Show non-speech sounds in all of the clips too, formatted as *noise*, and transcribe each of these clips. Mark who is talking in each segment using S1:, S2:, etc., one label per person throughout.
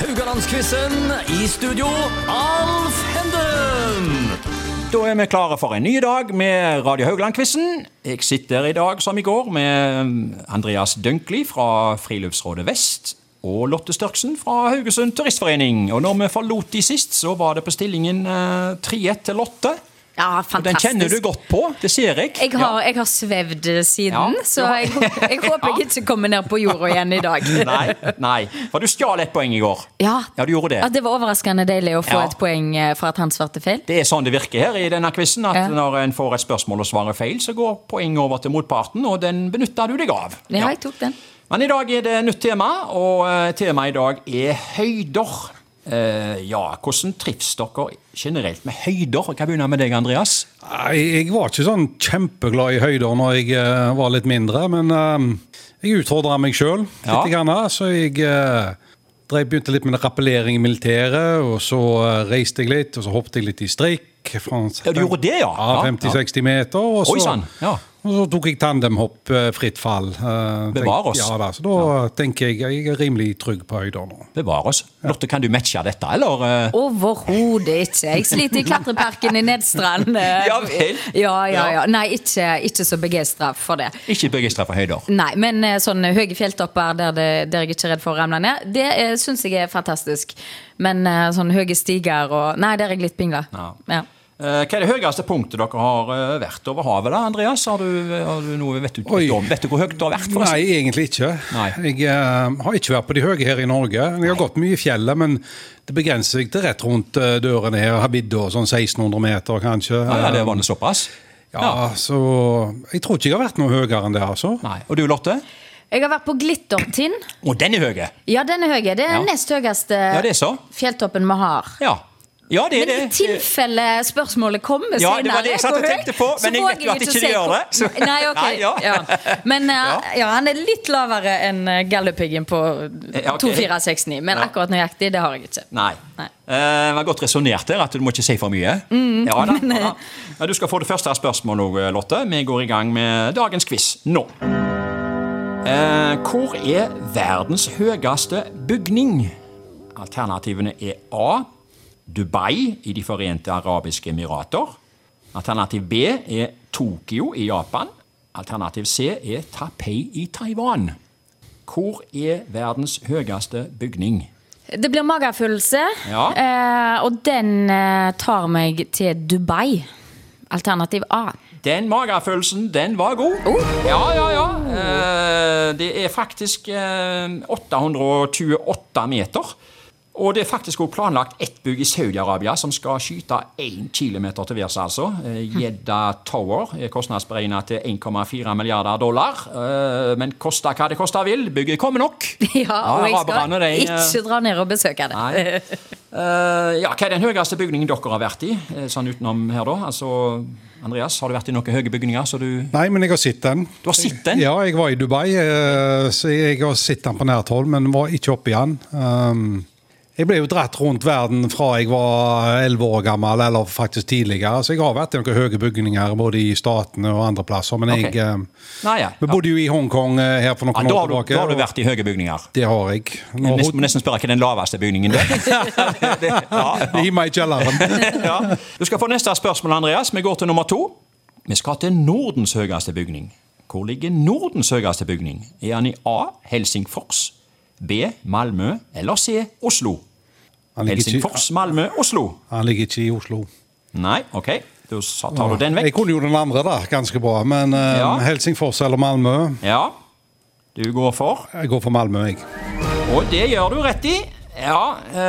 S1: Haugalandsquizen i studio, Alf Henden!
S2: Da er vi klare for en ny dag med Radio Haugland-quizen. Jeg sitter i dag, som i går, med um, Andreas Dønkli fra Friluftsrådet Vest og Lotte Størksen fra Haugesund Turistforening. Og når vi forlot de sist, så var det på stillingen eh, 3-1 til Lotte.
S3: Ja,
S2: Og den
S3: fantastisk.
S2: kjenner du godt på, det ser jeg.
S3: Jeg har, jeg har svevd siden,
S2: Ja.
S3: så jeg, *laughs* jeg håper jeg ikke kommer ned på jorda igjen i dag.
S2: *laughs* Nei, nei, for du stjal et poeng i går.
S3: Ja.
S2: du gjorde det.
S3: Ja, det var overraskende deilig å få
S2: Ja.
S3: et poeng eh, for at han svarte feil.
S2: Det er sånn det virker her i denne quizen, at
S3: Ja.
S2: når en får et spørsmål og svarer feil, så går poenget over til motparten, og den benytter du deg av.
S3: Ja, jeg tok den.
S2: Men i dag er det nytt tema, og eh, temaet i dag er høyder. Eh, ja, hvordan trives dere generelt med høyder? Jeg kan begynne med deg, Andreas.
S4: Nei, jeg var ikke sånn kjempeglad i høyder når jeg eh, var litt mindre, men eh, jeg utfordra meg sjøl litt.
S2: Ja.
S4: Grann, så jeg eh, drev, begynte litt med rappellering i militæret, og så eh, reiste jeg litt, og så hoppet jeg litt i streik. Fra,
S2: Ja, du gjorde det, ja?
S4: Ja,
S2: Ja,
S4: 50-60 meter. Og
S2: Oi,
S4: så,
S2: sann, ja.
S4: og så tok jeg tandemhopp, eh, fritt fall. eh,
S2: Bevar oss.
S4: Ja, da, så da tenker jeg jeg er rimelig trygg på høyder nå.
S2: Bevare oss. Lotte, kan du matche dette, eller? eh?
S3: Overhodet ikke. Jeg sliter i klatreparken i Nedstrand. eh.
S2: *laughs* Ja vel.
S3: Ja, ja, ja. Nei, ikke, ikke så begeistra for det.
S2: Ikke begeistra for høyder.
S3: Nei, men eh, sånne høye fjelltopper der, det, der jeg ikke er redd for å ramle ned, det eh, syns jeg er fantastisk. Men eh, sånne høye stiger og Nei, der er jeg litt pingla.
S2: Ja.
S3: Ja.
S2: Eh, Hva er det høyeste punktet dere har eh, vært over havet, da, Andreas? Har du, har du noe, vet, du,
S4: Oi.
S2: vet, du, vet du hvor høyt det har vært? forresten?
S4: Nei, egentlig ikke.
S2: Nei.
S4: Jeg eh, har ikke vært på de høye her i Norge. Jeg har gått mye i fjellet, men det begrenser seg til rett rundt eh, dørene her. Habidda, sånn 1600 meter kanskje.
S2: Ja, ja, det var det såpass?
S4: Ja, så Jeg tror ikke jeg har vært noe høyere enn det, altså.
S2: Nei. Og du, Lotte?
S3: Jeg har vært på Glittertind.
S2: Å, den er høy!
S3: Ja, den er høy. Det er
S2: Ja.
S3: den nest høyeste
S2: Ja, det er så.
S3: fjelltoppen vi har.
S2: Ja. ja, det er
S3: Men
S2: det.
S3: i tilfelle spørsmålet kommer
S2: Ja,
S3: senere,
S2: det var det jeg satt og
S3: hvor høy,
S2: tenkte på,
S3: så
S2: men jeg
S3: våger
S2: vet jo at
S3: ikke
S2: ikke
S3: å si
S2: det gjør
S3: hvor-
S2: det, så-
S3: *laughs* Nei, ok.
S2: Nei, ja.
S3: ja. Men eh,
S2: Ja.
S3: ja, han er litt lavere enn eh, Galdhøpiggen på
S2: Eh, Ja, ok.
S3: 2469, men
S2: Ja.
S3: akkurat nøyaktig, det har jeg ikke.
S2: Nei.
S3: Nei.
S2: Eh, det var godt resonnert der, at du må ikke si for mye. ja, da, ja. Men Du skal få det første spørsmålet òg, Lotte. Vi går i gang med dagens quiz nå. Eh, hvor er verdens høyeste bygning? Alternativene er A. Dubai i De forente arabiske emirater. Alternativ B er Tokyo i Japan. Alternativ C er Tapei i Taiwan. Hvor er verdens høyeste bygning?
S3: Det blir magefølelse,
S2: Ja.
S3: eh, og den eh, tar meg til Dubai. Alternativ A. *laughs*
S2: Den magefølelsen, den var god.
S3: Oh.
S2: Ja, ja, ja. Eh, det er faktisk eh, 828 meter. Og det er faktisk også planlagt ett bygg i Saudi-Arabia som skal skyte én kilometer til værs, altså. Eh, Jeddah Tower er kostnadsberegna til 1,4 milliarder dollar. Eh, men kosta hva det kosta vil, bygget kommer nok.
S3: *laughs* Ja, og jeg
S2: araberne,
S3: skal
S2: de, eh,
S3: ikke dra ned og besøke det.
S2: Nei. Eh, ja, hva er den høyeste bygningen dere har vært i? eh, Sånn utenom her, da. Altså, Andreas, har du vært i noen høye bygninger? Så du
S4: Nei, men jeg har sett den.
S2: Du har sett den?
S4: Ja, jeg var i Dubai, eh, så jeg har sett den på nært hold, men var ikke oppi den. Um, jeg ble jo dratt rundt verden fra jeg var elleve år gammel, eller faktisk tidligere. Så jeg har vært i noen høye bygninger både i statene og andre plasser. Men jeg
S2: Ok.
S4: eh,
S2: Nei, ja.
S4: Vi bodde jo i Hongkong eh, her for
S2: Ja,
S4: noen
S2: da, har
S4: år
S2: du,
S4: tilbake.
S2: da har du
S4: og
S2: vært i høye bygninger.
S4: Det har jeg.
S2: Jeg
S4: Nå,
S2: nesten- må nesten spørre hva er den laveste bygningen der. det,
S4: *laughs*
S2: ja,
S4: I meg i kjelleren.
S2: ja. Du skal få neste spørsmål, Andreas. Vi går til nummer to. Vi skal til Nordens høyeste bygning. Hvor ligger Nordens høyeste bygning? Er han i A. Helsingfors, B. Malmø eller C. Oslo?
S4: Han ligger, ikke,
S2: Helsingfors, Malmø, Oslo.
S4: han ligger ikke i Oslo.
S2: Nei, ok. Da sa- tar du den
S4: Jeg
S2: vekk.
S4: kunne jo den andre, da, ganske bra. Men eh,
S2: Ja.
S4: Helsingfors eller Malmö?
S2: Ja. Du går for.
S4: Jeg går for Malmö, jeg.
S2: Og det gjør du rett i. Ja,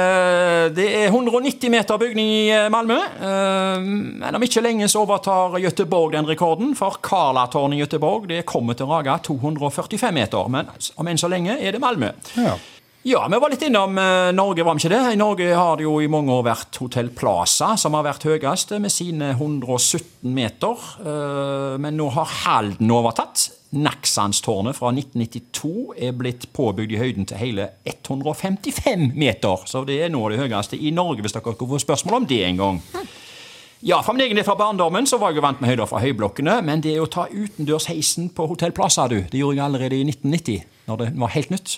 S2: eh, det er 190 meter bygning i eh, Malmö. Eh, Men om ikke lenge så overtar Gøteborg den rekorden, for Karlatårnet i Gøteborg det kommer til å rage 245 meter. Men om enn så lenge er det Malmö.
S4: Ja.
S2: Ja, vi var litt innom eh, Norge, var vi ikke det? I Norge har det jo i mange år vært Hotell Plaza som har vært høyest, eh, med sine 117 meter. Eh, Men nå har Halden overtatt. Naksandstårnet fra 1992 er blitt påbygd i høyden til hele 155 meter. Så det er nå det høyeste i Norge, hvis dere skulle få spørsmål om det en gang. Ja, for min egen del fra barndommen så var jeg jo vant med høyder fra høyblokkene, men det å ta utendørs heisen på Hotell Plaza, du, det gjorde jeg allerede i 1990, når det var helt nytt.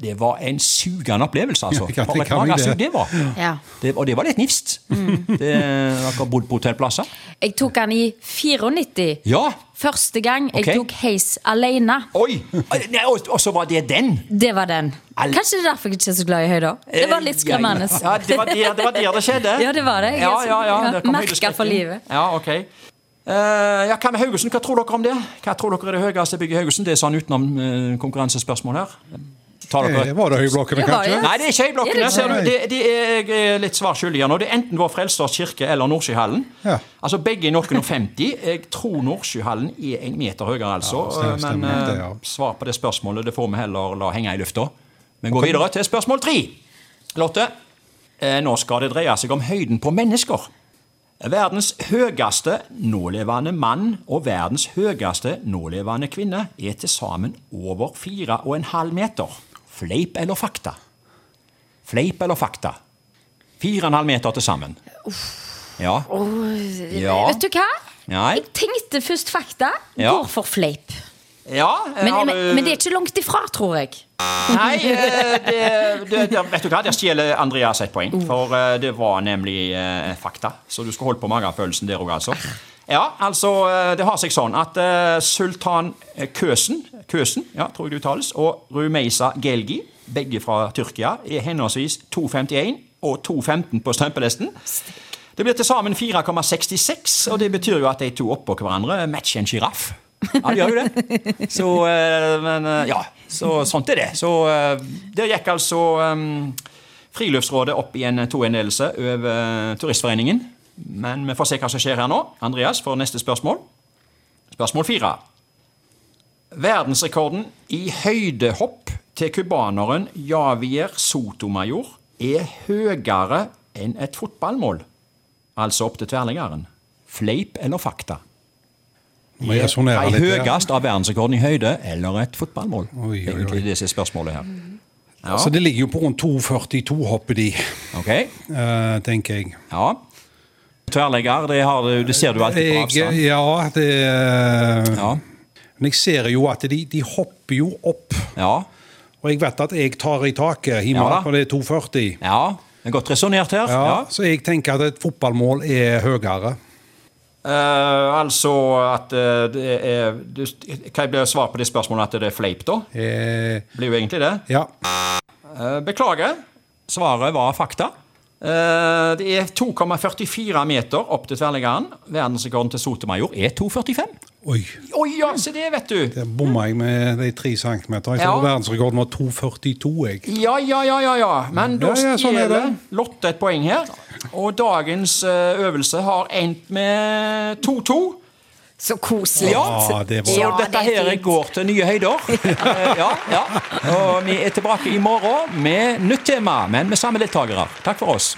S2: det var en sugende opplevelse, altså.
S4: Ja, det kan-
S2: For et
S4: det kan vi
S2: magesug
S4: det.
S2: det var.
S3: Ja. Mm.
S2: Det, og det var litt nifst. Det, dere har bodd på hotellplasser?
S3: Jeg tok den i 94.
S2: Ja!
S3: Første gang jeg
S2: Ok.
S3: tok heis alene.
S2: Oi! Nei, og, og så var det den!
S3: Det var den.
S2: Al- Eh,
S3: Kanskje det er derfor jeg ikke er så glad i høyder. Det var litt skremmende.
S2: Ja, det var der det, var der det skjedde.
S3: *laughs* Ja, det var det. Jeg er
S2: Ja,
S3: så-
S2: ja, ja,
S3: ja,
S2: det kom
S3: merket
S2: høydeskrekken.
S3: for livet.
S2: Ja, ok. Eh, ja, hva med Haugesund? Hva tror dere om det? Hva tror dere er det høyeste bygget i Haugesund? Det er sånn utenom eh, konkurransespørsmål her. Tar dere
S4: Eh, Var det høyblokkene,
S3: Det var det.
S4: kanskje?
S2: Nei, det er ikke
S3: Er det
S2: Høyblokkene.
S3: ikke?
S2: Ser du, det, det er, jeg er litt svar skyldig her nå. Det er enten Vår Frelsers kirke eller Nordsjøhallen.
S4: Ja.
S2: Altså begge i noen og 50. Jeg tror Nordsjøhallen er en meter høyere, altså.
S4: Ja, stemmer, stemmer
S2: Men eh,
S4: det, ja.
S2: svar på det spørsmålet det får vi heller la henge i lufta. Vi går videre til spørsmål tre. Lotte, eh, nå skal det dreie seg om høyden på mennesker. Verdens høyeste nålevende mann og verdens høyeste nålevende kvinne er til sammen over fire og en halv meter. Fleip eller fakta? Fleip eller fakta? Fire og en halv meter til sammen. Ja. Ja.
S3: Vet du hva?
S2: Nei.
S3: Jeg tenkte først fakta.
S2: Ja.
S3: Går for fleip.
S2: ja
S3: Men,
S2: har du-
S3: men, men det er ikke langt ifra, tror jeg.
S2: Nei, eh, det, det, det, vet du hva? Der stjeler Andreas et poeng. For eh, det var nemlig eh, fakta. Så du skal holde på magefølelsen der òg, altså. Ja, altså, eh, det har seg sånn at eh, sultan eh, Køsen, Køsen ja, tror jeg det uttales, og Rumeisa Gelgi, begge fra Tyrkia, er henholdsvis 2,51 og 2,15 på strømpelesten. Det blir til sammen 4,66, og det betyr jo at de to oppå hverandre matcher en sjiraff. Ja, de gjør jo det. Så, eh, men, eh, ja, så sånt er det. Så eh, der gikk altså eh, Friluftsrådet opp i en toendelelse over Turistforeningen. Men vi får se hva som skjer her nå. Andreas får neste spørsmål. Spørsmål fire. Verdensrekorden i høydehopp til cubaneren Javier Sotomayor er høyere enn et fotballmål. Altså opp til tverrliggeren. Fleip eller fakta?
S4: Må jeg resonnere
S2: Ei
S4: litt her?
S2: høyest av verdensrekorden i høyde eller et fotballmål?
S4: Oi, oi, oi.
S2: Egentlig det som er spørsmålet her. Ja,
S4: Så det ligger jo på rundt 2,42 hoppet de,
S2: ok.
S4: eh, tenker jeg.
S2: Ja. Tverrlegger, det, har du, det ser du alltid på avstand.
S4: Jeg, eh, ja, det eh,
S2: Ja.
S4: Men jeg ser jo at de, de hopper jo opp.
S2: Ja.
S4: Og jeg vet at jeg tar i taket hjemme
S2: Ja da.
S4: når det er 2,40.
S2: ja. Det er godt resonnert her.
S4: Ja,
S2: Ja.
S4: Så jeg tenker at et fotballmål er høyere.
S2: Eh, altså at eh, det er du, Hva blir svaret på det spørsmålet? At det er fleip, da?
S4: Eh,
S2: Blir jo egentlig det.
S4: ja.
S2: Eh, beklager. Svaret var fakta. Eh, det er 2,44 meter opp til tverrleggeren. Verdensrekorden til Sotemajor er 2,45.
S4: Oi,
S2: Oi, ja, se det, vet du!
S4: der bomma jeg med de tre centimeterne. Jeg
S2: Ja.
S4: tror verdensrekorden var 2,42, jeg.
S2: Ja, ja, ja, ja, ja. Men da
S4: Ja, ja, sånn er
S2: stjeler
S4: det.
S2: Lotte et poeng her. Og dagens eh, øvelse har endt med 2-2.
S3: Så koselig.
S4: Ja, det var-
S2: Så
S3: Ja,
S2: dette
S3: det er
S2: her
S3: fint.
S2: går til nye
S3: *laughs*
S2: høyder. Eh, ja, ja. Og vi er tilbake i morgen med nytt tema, men med samme deltakere. Takk for oss.